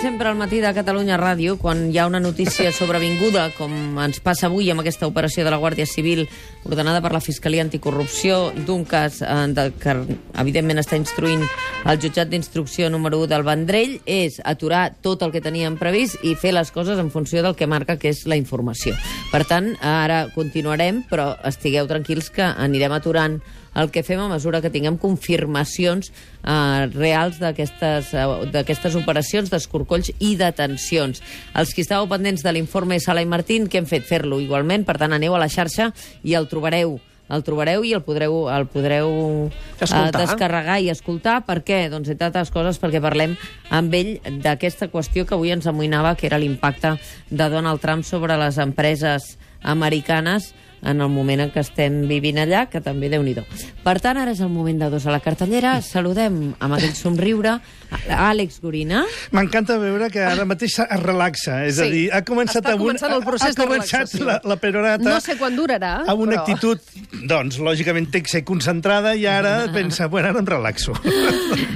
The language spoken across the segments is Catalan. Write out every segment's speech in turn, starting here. sempre al matí de Catalunya Ràdio, quan hi ha una notícia sobrevinguda, com ens passa avui amb aquesta operació de la Guàrdia Civil ordenada per la Fiscalia Anticorrupció d'un cas eh, de, que evidentment està instruint el jutjat d'instrucció número 1 del Vendrell, és aturar tot el que teníem previst i fer les coses en funció del que marca que és la informació. Per tant, ara continuarem, però estigueu tranquils que anirem aturant el que fem a mesura que tinguem confirmacions eh, reals d'aquestes eh, d'aquestes operacions d'escorcolls i detencions. Els que estàveu pendents de l'informe Sala i Martín, que hem fet? Fer-lo igualment, per tant, aneu a la xarxa i el trobareu el trobareu i el podreu, el podreu eh, Escoltar. descarregar i escoltar. Per què? Doncs, entre altres coses, perquè parlem amb ell d'aquesta qüestió que avui ens amoïnava, que era l'impacte de Donald Trump sobre les empreses americanes en el moment en què estem vivint allà, que també déu nhi Per tant, ara és el moment de dos a la cartellera. Saludem amb aquell somriure a Àlex Gorina. M'encanta veure que ara mateix es relaxa, és a Sí. dir, ha començat, Està amb un- començant el procés ha de començat relaxació. la, la perorata No sé quan durarà, amb una però- actitud, doncs, lògicament té que ser concentrada i ara pensa, bueno, ara em relaxo.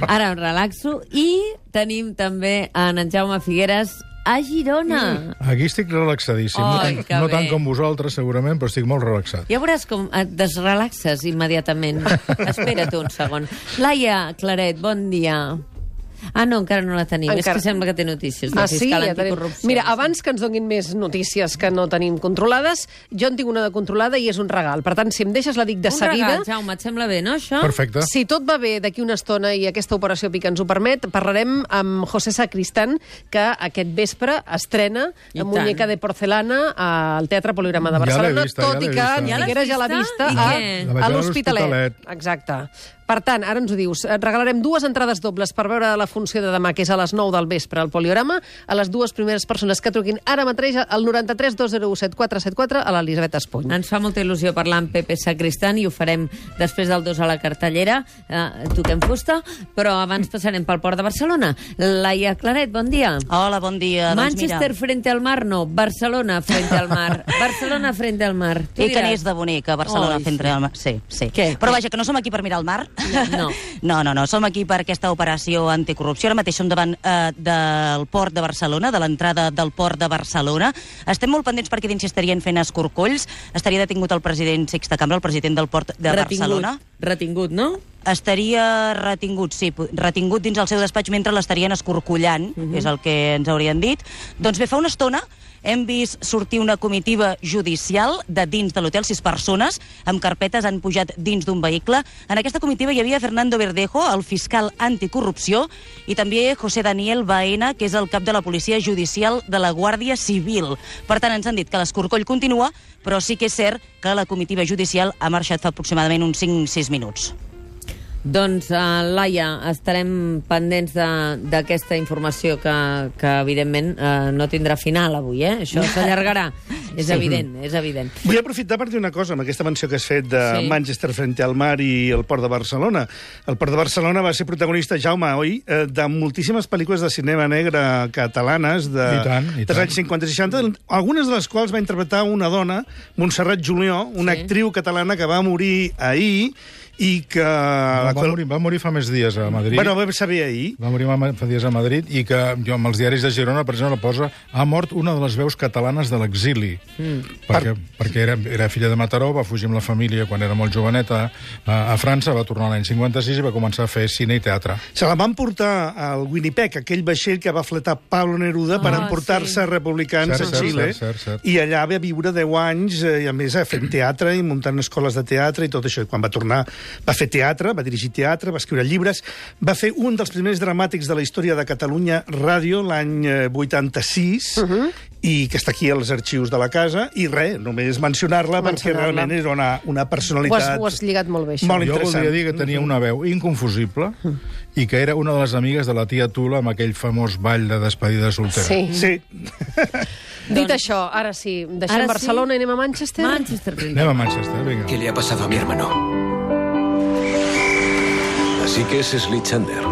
Ara em relaxo. I tenim també en, en Jaume Figueres a Girona. Aquí estic relaxadíssim, Ai, no, que tant, no bé. tant com vosaltres, segurament, però estic molt relaxat. Ja veuràs com et desrelaxes immediatament. Espera't un segon. Laia Claret, bon dia. Ah, no, encara no la tenim. Encara. És que sembla que té notícies de Ah, sí, fiscal ja tenim. anticorrupció. Mira, abans que ens donin més notícies que no tenim controlades, jo en tinc una de controlada i és un regal. Per tant, si em deixes la dic de un seguida... regal, Jaume, et sembla bé, no, això? Perfecte. Si tot va bé d'aquí una estona i aquesta operació pica ens ho permet, parlarem amb José Sacristán, que aquest vespre estrena I tant. Muñeca de Porcelana al Teatre Poligrama de Ja l'he Barcelona, vista, ja tot l'he i que vista. en Ja l'has Figueres ja l'ha vista? vista I a, què? La vaig a veure a l'Hospitalet. l'Hospitalet. Exacte. Per tant, ara ens ho dius. Et regalarem dues entrades dobles per veure la funció de demà, que és a les 9 del vespre, al Poliorama, a les dues primeres persones que truquin ara mateix al 93 201 7474 a l'Elisabet Espuny. Ens fa molta il·lusió parlar amb Pepe Sacristán i ho farem després del 2 a la cartellera. Eh, toquem fusta, però abans passarem pel port de Barcelona. Laia Claret, bon dia. Hola, bon dia. Manchester doncs mira, frente al mar, no. Barcelona frente al mar. Barcelona frente al mar. Tu i que diràs. n'és de bonic, a Barcelona, Oi, fent sí. el mar. Sí, sí. Què? Però vaja, que no som aquí per mirar el mar. No. no, no, no. Som aquí per aquesta operació anticorrupció. Ara mateix som davant eh, del port de Barcelona, de l'entrada del port de Barcelona. Estem molt pendents perquè dins hi estarien fent escorcolls. Estaria detingut el president Sixta Cambra, el president del port de Barcelona. Retingut, no? estaria retingut, sí, pu- retingut dins el seu despatx mentre l'estarien escorcollant, és el que ens haurien dit. Doncs bé, fa una estona hem vist sortir una comitiva judicial de dins de l'hotel, sis persones, amb carpetes han pujat dins d'un vehicle. En aquesta comitiva hi havia Fernando Verdejo, el fiscal anticorrupció, i també José Daniel Baena, que és el cap de la policia judicial de la Guàrdia Civil. Per tant, ens han dit que l'escorcoll continua, però sí que és cert que la comitiva judicial ha marxat fa aproximadament uns 5-6 minuts. Doncs, uh, Laia, estarem pendents de- d'aquesta informació que, que evidentment, uh, no tindrà final avui, eh? Això s'allargarà. és evident, és evident. Vull aprofitar per dir una cosa, amb aquesta menció que has fet de Sí. sí. Manchester frente al mar i el port de Barcelona. El port de Barcelona va ser protagonista, Jaume, oi, eh, de moltíssimes pel·lícules de cinema negre catalanes de, I tant, i dels tant. anys 50 i 60, algunes de les quals va interpretar una dona, Montserrat Julió, una Sí. sí. actriu catalana que va morir ahir i que... Va, la va, qual- morir, va morir fa més dies a Madrid. Ah, Bueno, vam saber ahir. Va morir ma- fa dies a Madrid i que jo, amb els diaris de Girona, per exemple, posa ha mort una de les veus catalanes de l'exili. Mm. Perquè, perquè era, era filla de Mataró, va fugir amb la família quan era molt joveneta a, a França, va tornar l'any 56 i va començar a fer cine i teatre. Se la van portar al Winnipeg, aquell vaixell que va fletar Pablo Neruda per Ah, emportar-se sí. sí. republicans Cert, a cert, Xile. cert, cert, cert. Mm. I allà va viure 10 anys, eh, i a més eh, fent teatre i muntant escoles de teatre i tot això. I quan va tornar va fer teatre, va dirigir teatre, va escriure llibres, va fer un dels primers dramàtics de la història de Catalunya Ràdio l'any eh, 86, uh Mhm. -huh. i que està aquí als arxius de la casa, i res, només mencionar-la perquè Mencionar-la. realment era una, una Ho has, personalitat... ho has lligat molt bé, això. Molt jo interessant. Mm. voldria dir que tenia una veu inconfusible i que era una de les amigues de la tia Tula amb aquell famós ball de despedida soltera. Sí. Sí. Doncs Dit això, ara sí, deixem Ara sí. ara Barcelona i anem a Manchester. Manchester Frente. Anem a Manchester, vinga. ¿Qué le ha pasado a mi hermano? Así que es Slichander.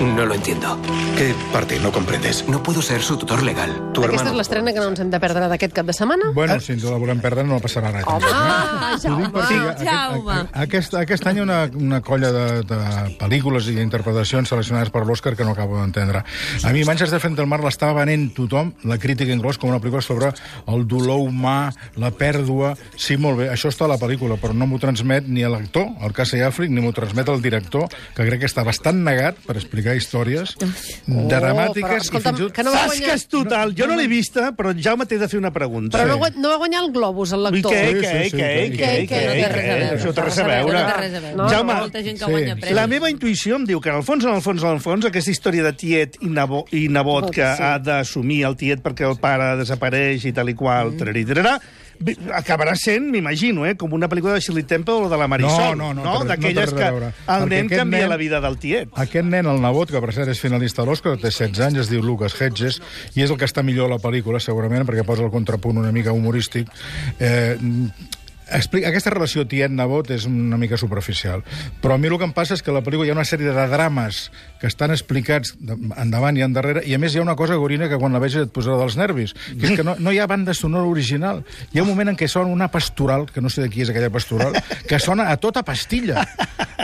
No lo entiendo. ¿Qué parte no comprendes? No puedo ser su tutor legal. Aquesta Tu és hermano... l'estrena que no ens hem de perdre d'aquest cap de setmana. Bueno, si ens la volem perdre no passarà res. Home, Ah, Jaume! Jaume. Jaume. Aquest, aquest any una, una colla de, de pel·lícules i d'interpretacions seleccionades per l'Oscar que no acabo d'entendre. A mi Manchester frente al mar l'estava venent tothom, la crítica inclòs, com una pel·lícula sobre el dolor humà, la pèrdua... Sí, molt bé, això està a la pel·lícula, però no m'ho transmet ni a l'actor, el Casey Affleck, ni m'ho transmet el director, que crec que està bastant negat per explicar històries Oh, però, dramàtiques i escolta'm, fins i tot... que no va guanyar, Tasques total. Jo no l'he vista, però en Jaume t'he de fer una pregunta. però no, guany- no va guanyar el Globus, el I lector. què, Sí, què, sí, sí, què, sí, què, sí, que no té res a veure. Això no té res a veure. No té res a veure. No, Jaume, molta gent que sí. guanya premis. La meva intuïció em diu que en el fons, en el fons, en el fons, aquesta història de tiet i, nabo, i nebot que Sí. ha d'assumir el tiet perquè el pare desapareix i tal i qual, mm. trerà, acabarà sent, m'imagino, eh, com una pel·lícula de Shirley Temple o de la Marisol, No, no, no, no té- no d'aquelles té res a que veure. el Perquè nen aquest canvia nen- la vida del tiet. Aquest nen, el nebot, que per cert és finalista de l'Oscar, té 16 anys, es diu Lucas Hedges, i és el que està millor a la pel·lícula, segurament, perquè posa el contrapunt una mica humorístic. Eh, explica, aquesta relació tiet-nebot és una mica superficial, però a mi el que em passa és que a la pel·lícula hi ha una sèrie de drames que estan explicats de- endavant i endarrere, i a més hi ha una cosa, Gorina, que quan la veges et posarà dels nervis, que és que no, no hi ha banda sonora original. Hi ha un moment en què sona una pastoral, que no sé de qui és aquella pastoral, que sona a tota pastilla,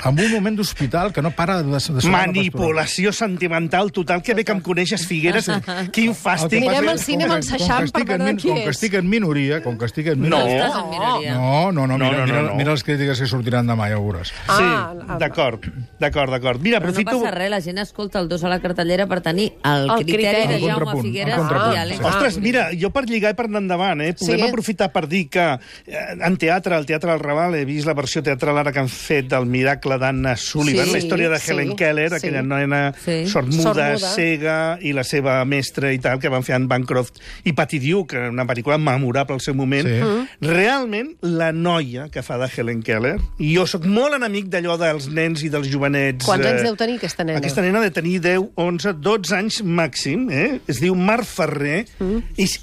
amb un moment d'hospital que no para de, de sonar la pastoral. Manipulació sentimental total, que bé que em coneixes, Figueres, quin fàstic. Anirem Anirem al cine amb en Seixamp per veure de qui Com és. que estic en minoria, com que estic en minoria... Estàs en minoria. No, no, No, no, mira, no, no, mira, no. mira les crítiques que sortiran demà, ja ho veuràs. Sí, Ah, ah, d'acord, d'acord, d'acord. Mira, Però no aprofito... passa res, la gent escolta el dos a la cartellera per tenir el, El criteri, criteri. de El Jaume contrapunt, Figueres el contrapunt, i Alem. sí. Ostres, mira, jo per lligar i per anar endavant, eh, Ah, Sí. podem sí. aprofitar per dir que eh, en teatre, al Teatre del Raval, he vist la versió teatral ara que han fet del Miracle d'Anna Sullivan, Sí, la història de sí, Helen Keller, sí. aquella nena Sí. sí. sormuda, Sordmuda. cega, i la seva mestra i tal, que van fer en Bancroft i Patty Duke, que era una pel·lícula memorable al seu moment. Sí. Sí. Mhm. Realment, la noia que fa de Helen Keller, i jo sóc molt enemic d'allò dels nens i dels jovenets... Quants anys eh, deu tenir aquesta nena? Aquesta nena de tenir 10, 11, 12 anys màxim, eh? Es diu Mar Ferrer. Mm. És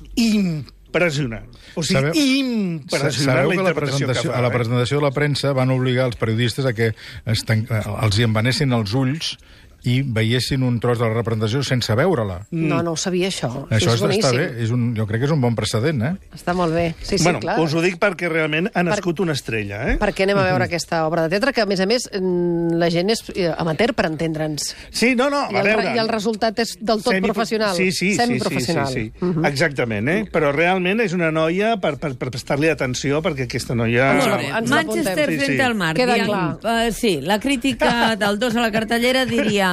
impressionant. O sigui, Sabeu- impressionant Sabeu la que la interpretació que, presentació, fa. a la eh? presentació de la premsa van obligar els periodistes a que es tan... eh, els hi envenessin els ulls i veiessin un tros de la representació sense veure-la. Mm. No, no ho sabia, això. Això és està- està boníssim. bé, és un, jo crec que és un bon precedent, eh? Està molt bé. Sí, sí, bueno, clar. us ho dic perquè realment ha nascut una estrella, eh? Perquè anem a veure aquesta obra de teatre, que a més a més mm, la gent és eh, amateur per entendre'ns. Sí, no, no, I a el, veure... I el resultat és del tot Semipro- professional. Sí, sí, sí, sí, sí, Semiprofessional. Mhm. Mm-hmm. sí. Exactament, eh? Però realment és una noia per, per, per prestar-li atenció, perquè aquesta noia... Molt ens bé. l'apuntem. Manchester Sí, sí. frente al mar. Queda Diem, clar. eh, sí, la crítica del 2 a la cartellera diria...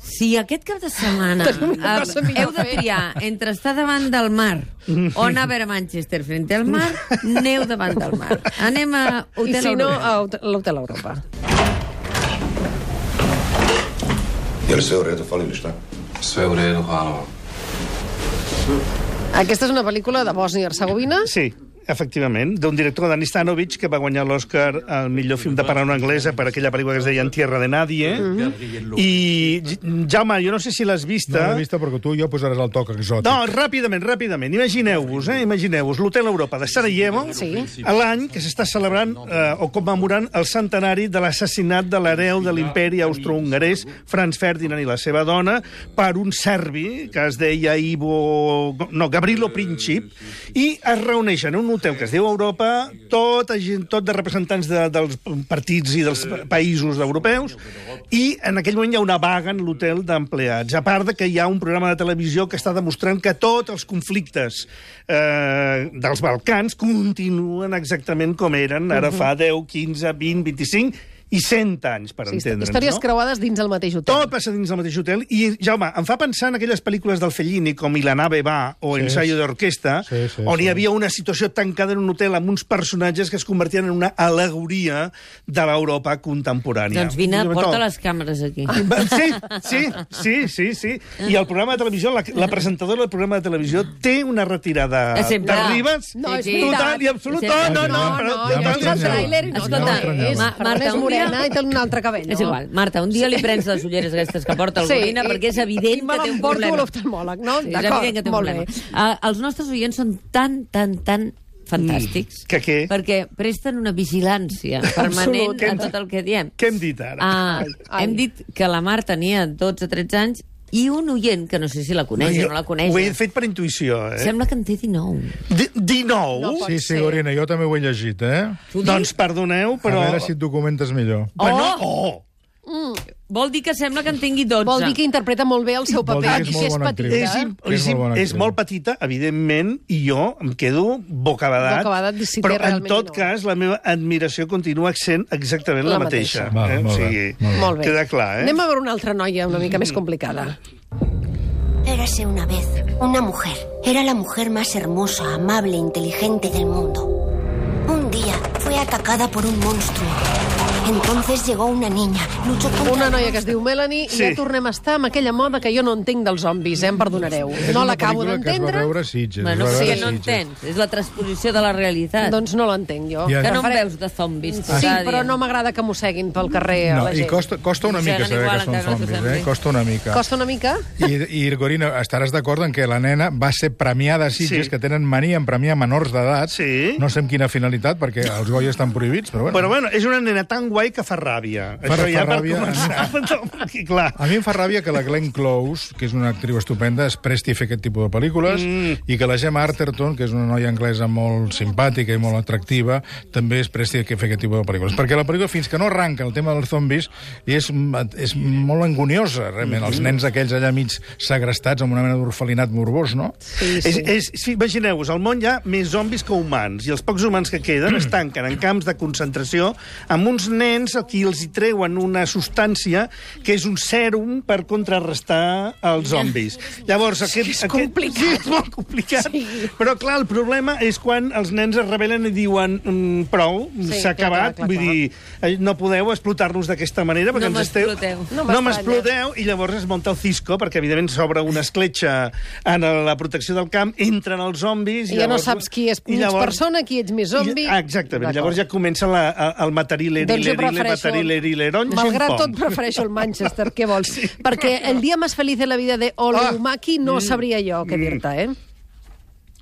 Si aquest cap de setmana una eh, cosa millor heu a de fer. triar entre estar davant del mar o anar a veure Manchester frente al mar, aneu davant del mar. Anem a I Hotel si no, Europa. a Hotel- l'Hotel Europa. Yarısı oraya da falan işte. Söyle Hanım. Aquesta és una pel·lícula de Bòsnia i Hercegovina. Sí, efectivament, d'un director, Dan Stanovich, que va guanyar l'Oscar al millor film de paraula anglesa per aquella pel·lícula que es deia En tierra de nadie. I, J- Jaume, jo no sé si l'has Mm-hmm. No vista... l'he vista perquè tu i jo posaràs el toc exòtic. No, Doncs, ràpidament, ràpidament. Imagineu-vos, eh? Imagineu-vos l'Hotel Europa de Sarajevo, Sí. a l'any que s'està celebrant eh, o commemorant el centenari de l'assassinat de l'hereu de l'imperi austrohongarès, Franz Ferdinand i la seva dona, per un serbi que es deia Ivo... no, Gabrilo Princip, i es reuneixen en un hotel que es diu Europa, tota gent, tot de representants de, dels partits i dels països europeus, i en aquell moment hi ha una vaga en l'hotel d'empleats. A part de que hi ha un programa de televisió que està demostrant que tots els conflictes eh, dels Balcans continuen exactament com eren ara fa 10, 15, 20, 25 i 100 anys, per Sí, entendre'ns. històries no? creuades dins el mateix hotel. Tot passa dins del mateix hotel. I, Jaume, em fa pensar en aquelles pel·lícules del Fellini, com I la nave va, o sí, Ensayo d'orquestra, Sí, sí, on sí. hi havia una situació tancada en un hotel amb uns personatges que es convertien en una al·legoria de l'Europa eh, contemporània. Doncs vine, Sobretot- porta les càmeres aquí. Sí, sí, sí, sí, sí. I el programa de televisió, la, la presentadora del programa de televisió té una retirada Sempre. de Ribes No, és total veritat. i absoluta. Sí, sí. No, no, No, però, no, ja total i m'estranyava. absoluta. i Escolta, tot, m'estranyava. és Ma- Marta, Ernest un dia- Morena i té un altre cabell, no? És igual. Marta, un dia li prens les ulleres aquestes que porta el sí, Gorina, i- perquè és evident i me que té un l'emporto a problema. l'oftalmòleg, no? Sí, és D'acord, evident que té un Ah, molt problema. bé. Uh, els nostres oients són tan, tan, tan fantàstics. Mm, Que què? Perquè presten una vigilància permanent Absolut, que hem a tot el que diem. Què hem dit ara? Ah, Ai. hem dit que la Mar tenia 12 o 13 anys i un oient, que no sé si la coneix o no la coneix, Ho he fet per intuïció, eh? Sem... sembla que en té 19. Di 19? No pot Sí, sí, Gorina, jo també ho he llegit, eh? T'ho dic? Doncs perdoneu, però... Però... A veure si et documentes millor. Bueno, oh! Vol dir que sembla que en tingui 12. Vol dir que interpreta molt bé el seu Vol paper. dir que és i molt bona actriu. petita. És, im- Que és és, molt im- bona és actriu. molt petita, evidentment, i jo em quedo bocabadat. Bocabadat de si té però en realment tot o no. cas, la meva admiració continua sent exactament La la, mateixa. mateixa. Val, eh? molt bé, molt bé. Molt bé. Queda clar, eh? Anem a veure una altra noia una mica més complicada. Érase una vez una mujer. Era la mujer más hermosa, amable e inteligente del mundo. Un día fue atacada por un monstruo. Entonces llegó una niña, luchó contra Una el noia que es diu Melanie, sí. i Sí. ja tornem a estar amb aquella moda que jo no entenc dels zombis, eh? em perdonareu. És No una l'acabo pel·lícula Que es va d'entendre, veure a Sitges. Bueno, es va sí, veure que a no Sitges. entens. És la transposició de la realitat. doncs no l'entenc jo. Ja. que no Faré- en veus de zombis. t'ho Sí, està però dient. no m'agrada que mosseguin pel carrer a No, la I gent. costa, costa una Us mica semblen saber igual, que són encara no t'ho zombis, eh? sembli. Costa una mica. Costa una mica? I, I, Gorina, estaràs d'acord en que la nena va ser premiada a Sitges, Sí. que tenen mania en premiar menors d'edat. Sí. No sé amb quina finalitat, perquè els goi estan prohibits, però bueno. Però bueno, és una nena tan guai que fa ràbia. Fa- Això fa ja ràbia. per començar. No, clar. A mi em fa ràbia que la Glenn Close, que és una actriu estupenda, es presti a fer aquest tipus de pel·lícules, mm. i que la Gemma Arterton, que és una noia anglesa molt simpàtica i molt atractiva, també es presti a fer aquest tipus de pel·lícules. Perquè la pel·lícula, fins que no arranca el tema dels zombis, és, és molt angoniosa, realment. Mm. Els nens aquells allà mig segrestats amb una mena d'orfelinat morbós, no? Sí, És, sí. és, sí, Imagineu-vos, al món hi ha més zombis que humans, i els pocs humans que queden es tanquen en camps de concentració amb uns nens a qui els hi treuen una substància que és un sèrum per contrarrestar els zombis. Llavors, aquest, és complicat. Aquest, sí, és molt complicat. Sí. Però, clar, el problema és quan els nens es rebel·len i diuen "Mm, prou, Sí, s'ha clar, acabat, clar, clar, vull clar. dir, eh, no podeu explotar-nos d'aquesta manera perquè No ens esteu... m'exploteu. No No m'estranya. m'exploteu, i llavors es munta el Cisco, perquè evidentment s'obre una escletxa en la protecció del camp, entren els zombis... I ja no saps qui és mig persona, qui ets més zombi. I, exactament, D'acord. llavors ja comença la, a- el matarile, Doncs jo rile, rile, prefereixo... matarile, rile, ronxin, Malgrat pom. tot, prefereixo el Manchester, què vols? Perquè el dia més feliç de la vida de Ole Ah. Mm. Umaki no sabria jo què dir-te, eh?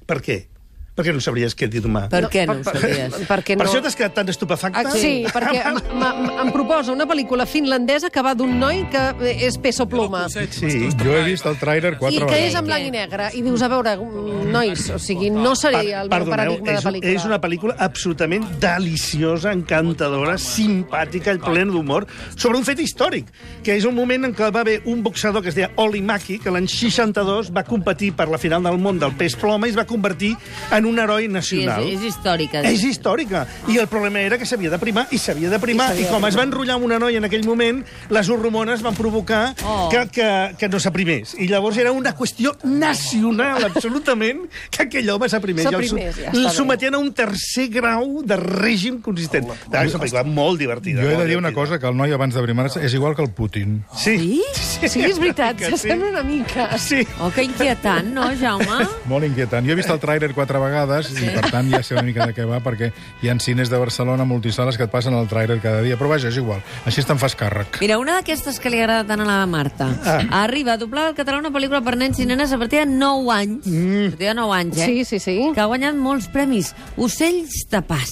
Per què? Per què no sabries què dir-me? Per què no ho sabies? Perquè no... Per això t'has quedat tan estupefacte? Ah, sí, perquè em, em, em proposa una pel·lícula finlandesa que va d'un noi que eh, és peso pluma. Sí. Jo he vist el trailer I quatre que és en vegades. blanc i negre. I dius, a veure, mm, nois, o sigui, no seria el meu paradigma de és, pel·lícula. és una pel·lícula absolutament deliciosa, encantadora, simpàtica, plena d'humor, sobre un fet històric, que és un moment en què va haver un boxador que es deia Oli Maki, que l'any 62 va competir per la final del món del pes ploma i es va convertir en un heroi Sí, és, nacional. és històrica. És històrica. I el problema era que s'havia de primar, i s'havia de primar, i, com es va enrotllar amb una noia en aquell moment, les hormones van provocar Oh. oh. que, que, que no s'aprimés. I llavors era una qüestió nacional, absolutament, que aquell home s'aprimés. S'aprimés, ja està I el, bé. el sometien a un tercer grau de règim consistent. Ah, és una pel·lícula molt divertida. Jo he de molt dir una divertida. cosa, que el noi abans d'abrimar-se és igual que el Putin. Sí. Sí, sí, és veritat, Que sí. s'assembla una mica. Sí. Oh, que inquietant, no, Jaume? Molt inquietant. Jo he vist el tràiler quatre vegades i, per tant, ja sé una mica de què va, perquè hi ha cines de Barcelona, multisales, que et passen el tràiler cada dia. Però vaja, és igual. Així te'n fas càrrec. Mira, una d'aquestes que li agrada tant a la Marta. Ah. Arriba a doblar al català una pel·lícula per nens i nenes a partir de 9 anys. Mm. A partir de 9 anys, eh? Sí, sí, sí. Que ha guanyat molts premis. Ocells de pas.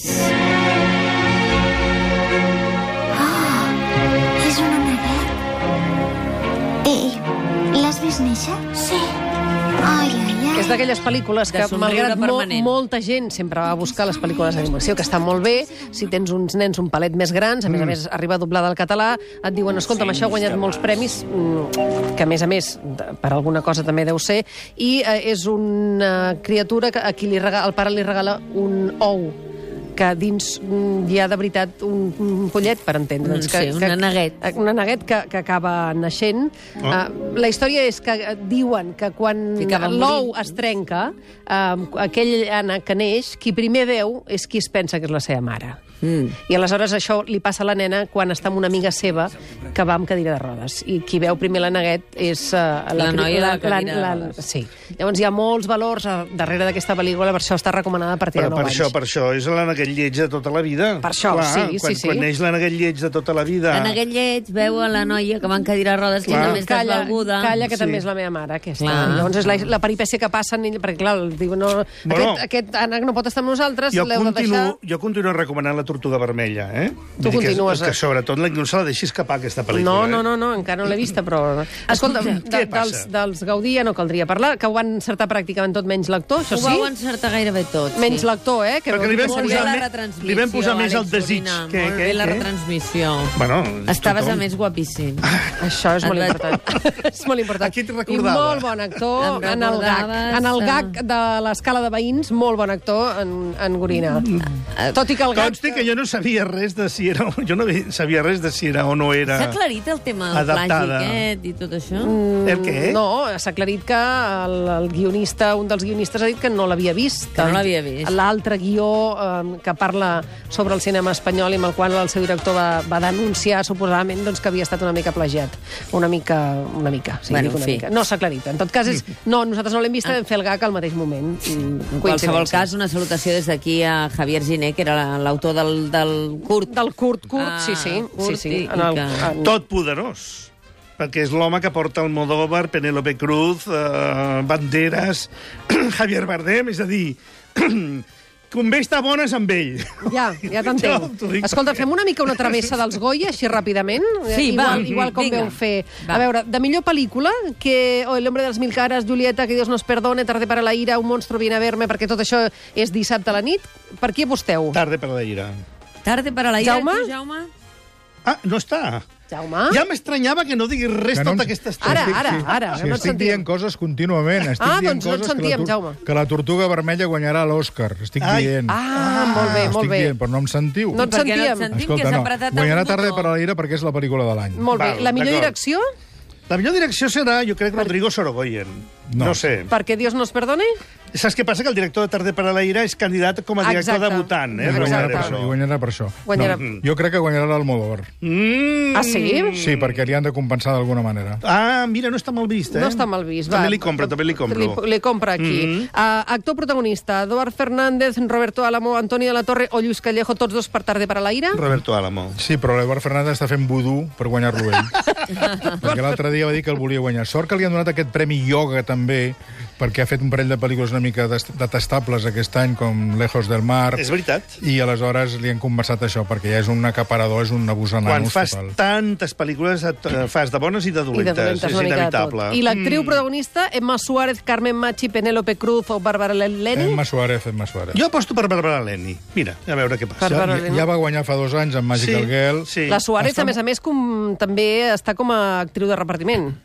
És una nevera. Ei, l'has vist néixer? Sí. Ai, ai, És d'aquelles pel·lícules que, De somriure malgrat mo permanent. molta gent sempre va a buscar les pel·lícules d'animació, que estan molt bé, si tens uns nens un palet més grans, a més a més arriba doblada al català, et diuen, escolta'm, això ha guanyat molts premis, mm, que a més a més, de- per alguna cosa també deu ser, i eh, és una criatura que a qui li regala, el pare li regala un ou que dins mm, hi ha de veritat un, un pollet, per entendre'ns. Mm, que, sí, un que- aneguet. Una aneguet que, que acaba naixent. Oh. Uh, la història és que eh, diuen que quan Que acaba l'ou morint. es um, trenca, eh, aquell ànec que neix, qui primer veu és qui es pensa que és la seva mare. Mm. I aleshores això li passa a la nena quan està amb una amiga seva que va amb cadira de rodes. I qui veu primer la Neguet és uh, La noia de la cadira de rodes. Sí. Llavors hi ha molts valors a, darrere d'aquesta pel·lícula, per això està recomanada a partir Però de 9 per això, anys. per això, és la neguet lleig de tota la vida. Per això, Clar, sí, sí, quan, sí. Quan neix la neguet lleig de tota la vida... En aquest lleig veu a la noia que va en cadira de rodes, que Clar. també està calla, desvalguda. calla, que Sí. també és la meva mare, aquesta. Clar. Llavors és la, la peripècia que passa, en ell, perquè clar, el diu, no, Bueno. aquest, aquest ànec no pot estar amb nosaltres, Jo l'heu de deixar... continuo, jo continuo recomanant la Tortuga Vermella, eh? Tu Vull dir continues, Que, eh? que sobretot la- no se la deixis escapar, aquesta No, pel·lícula. no, eh? no, no, encara no l'he vista, però... Escolta, de, què dels, passa? dels Gaudí ja no caldria parlar, que ho van encertar pràcticament tot menys l'actor, això Ho vau sí? encertar gairebé tot. Menys sí. l'actor, eh? Perquè veu li vam que Molt bé posar la me- retransmissió, li vam posar més Àlex el desig Corina. que- Molt que- bé la que- retransmissió. eh? Bueno, Estaves, tothom- Ah, a més, guapíssim. Això és Et molt vaig- important. és molt important. Aquí et I recordava. molt bon actor Em en el GAC. recordaves, En el eh? GAC de l'escala de veïns, molt bon actor en, en Gorina. Tot i que el GAC... Mm. Consti que jo no sabia res de si era... Jo no sabia res de si era o no era... S'ha aclarit el tema del plagi Adaptada. Mm, aquest i tot això? El què? Mm, No, s'ha aclarit que el, el guionista, un dels guionistes ha dit que no l'havia vist. Que no l'havia vist. L'altre guió eh, que parla sobre el cinema espanyol i amb el qual el seu director va, va denunciar suposadament doncs, que havia estat una mica plagiat. Una mica, una mica. Sí, Bueno, dic una en fi. Ah. mica. No s'ha aclarit. En tot cas, és, Mm. no, nosaltres no l'hem vist, vam fer el gag al mateix moment. Mm, En qualsevol cas, una salutació des d'aquí a Javier Giné, que era la- l'autor del, del curt. Del curt, curt, Ah, sí, sí. curt sí, sí. i- i que- Tot poderós perquè és l'home que porta el Modóvar, Penélope Cruz, eh, Banderas, Javier Bardem, és a dir, convé estar bones amb ell. Ja, ja Jo t'entenc. t'ho dic Escolta, perquè- fem una mica una travessa dels Goya, així ràpidament. Sí, va, igual, igual com vinga. veu fer. Va. A veure, de millor pel·lícula, que oh, El hombre de las mil caras, Julieta, que Dios nos perdone, Tarde para la ira, Un monstruo viene a verme, perquè tot això és dissabte a la nit. Per qui aposteu? Tarde per la ira. Tarde per a la ira, Jaume? tu, Jaume? Ah, no està. Jaume? Ja m'estranyava que no diguis res Que no... no- tota aquesta estona. Ara, ara, ara. Sí, no et estic sentim. dient coses contínuament. Estic Ah, dient doncs no et coses sentíem, que la, tor- Jaume. Que la Tortuga Vermella guanyarà l'Òscar. Estic Ai. dient. Ah, molt bé, molt estic bé. Dient, però no em sentiu. No et Per què no et sentíem. sentim, que Escolta, s'ha no. apretat Guanyarà algun tarde botó. per a la ira perquè és la pel·lícula de l'any. Molt bé. Val, La millor d'acord. direcció, La millor direcció serà, jo crec, Rodrigo Sorogoyen. No. No, no sé. perquè Dios nos perdone? Saps què passa? Que el director de Tarde per a la ira és candidat com a director Exacte. debutant. I Eh? guanyarà, Rodrigo per Exacte. això, I Sorogoyen. guanyarà per això. Guanyarà. No, jo crec que guanyarà l'Almodóvar. Mm. Ah, sí? Sí, perquè li han de compensar d'alguna manera. Ah, mira, no està mal vist, eh? No està mal vist. També va. li compro, també li compro. Li, li compra aquí. Mm -hmm. uh, actor protagonista, Eduard Fernández, Roberto Álamo, Antonio de la Torre o Lluís Callejo, tots dos per tarde per a l'aire. Roberto Álamo. Sí, però l'Eduard Fernández està fent vudú per guanyar-lo ell. perquè l'altre dia va dir que el volia guanyar. Sort que li han donat aquest premi ioga també, perquè ha fet un parell de pel·lícules una mica dest- detestables aquest any, com Lejos del Mar, És veritat. i aleshores li han conversat això, perquè ja és un acaparador, és un abús a Quan nanos fas total. tantes pel·lícules, et, eh, fas de bones i de I de dolentes. dolentes, una és mica de tot. inevitable. Mm. I Mm. l'actriu protagonista, Emma Suárez, Carmen Machi, Penélope Cruz o Bárbara Leni. Emma Suárez, Emma Suárez. Jo aposto per Barbara Leni. Mira, a veure què passa. Barbara Ja, Leni. ja va guanyar fa dos anys amb Magical Girl. sí. La Suárez, Està- a més a més, com, també està com a actriu de repartiment. Mm,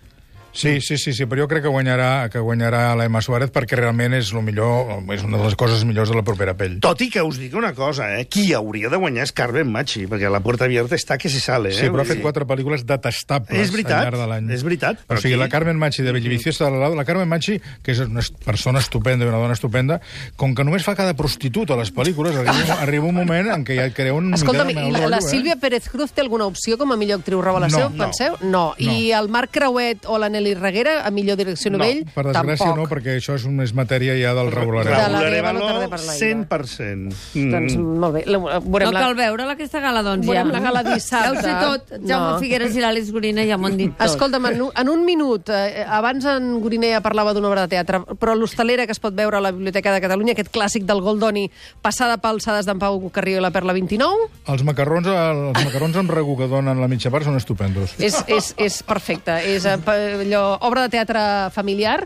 Sí, sí, sí, sí, però jo crec que guanyarà que guanyarà l'Emma Suárez perquè realment és lo millor, és una de les coses millors de la propera pell. Tot i que us dic una cosa, eh? qui hauria de guanyar és Carmen Machi, perquè la puerta abierta està que se sale. Eh? Sí, però ha Vull fet dir- quatre pel·lícules detestables És veritat, al llarg de l'any. és veritat, O però sigui, aquí- la Carmen Machi de Bellivicio de la, la Carmen Machi, que és una est- persona estupenda i una dona estupenda, com que només fa cada prostituta a les pel·lícules, arriba, arriba un moment en què ja et crea un... Escolta'm, miquel de i mal la, la rotllo, eh? Sílvia Pérez Cruz té alguna opció com a millor actriu revelació? No, no. penseu? No. I el Marc Creuet o la Nelly Reguera a millor direcció No, novell? Per desgràcia Tampoc. no, perquè això és, un- és matèria ja del De regular. la- Regularé Diego no valor tarda per l'aire. 100%. Mm. Doncs molt bé. La, veurem No la... cal veure-la, aquesta gala, doncs, ja. Veurem la gala Ja ho dissabte. sé tot. Jaume No. Figueres i l'Àlex Gorina ja m'ho han dit tot. Escolta'm, en, un- en un minut, eh, abans en Gorinea parlava d'una obra de teatre, però l'hostalera que es pot veure a la Biblioteca de Catalunya, aquest clàssic del Goldoni, passada pel Sades d'en Pau Carrió i la Perla 29, Els macarrons, els macarrons amb regu que donen la mitja part són estupendos. és, és, és perfecte. És eh, pa- allò, obra de teatre familiar,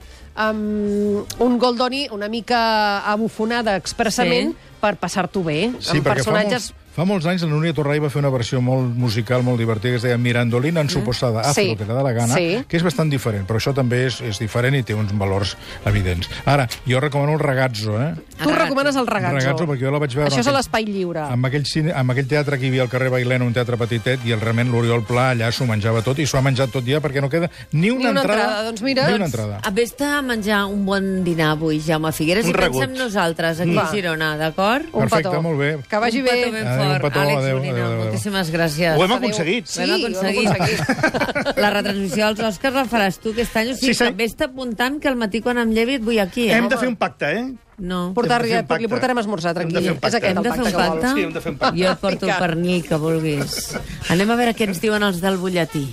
amb un Goldoni una mica abufonada expressament Sí. sí. per passar-t'ho bé, Sí, amb perquè personatges... fa molts, fa molts anys la Núria Torray va fer una versió molt musical, molt divertida, que es deia Mirandolina ensuposada, mm. Sí. sí. que te da la gana, Sí. sí. que és bastant diferent, però això també és, és diferent i té uns valors evidents. Ara, jo recomano el Ragazzo, eh? Tu recomanes el ragazzo. Ragazzo, perquè jo la vaig veure Això és en a aquell- l'espai lliure. Amb aquell, cine, amb aquell teatre que hi havia al carrer Bailena, un teatre petitet, i el realment l'Oriol Pla allà s'ho menjava tot, i s'ho ha menjat tot dia perquè no queda ni una, una entrada, doncs mira, ni una doncs, entrada. A Vés-te a menjar un bon dinar avui, Jaume Figueres, Un i pensem regut. nosaltres, aquí a Va. Girona, d'acord? Un Perfecte, petó. molt bé. Que vagi Un bé. petó ben fort. Adéu, un fort, petó, Àlex adéu, Molina. adéu, adéu. Moltíssimes gràcies. Ho hem aconseguit. Ho hem Sí, aconseguit. ho hem aconseguit. La retransmissió dels Oscars la faràs tu aquest any. O sigui, Sí, sí. també està apuntant que al matí quan em llevi et vull aquí, eh? Hem de fer un pacte, eh? No. Portar, Hem de fer un pacte. li portarem esmorzar, Hem de tranquil. fer un pacte. És aquest Hem el de fer un pacte que vol. pacte? Sí, hem de fer un pacte. Jo et porto el pernil que vulguis. Anem a veure què ens diuen els del butlletí.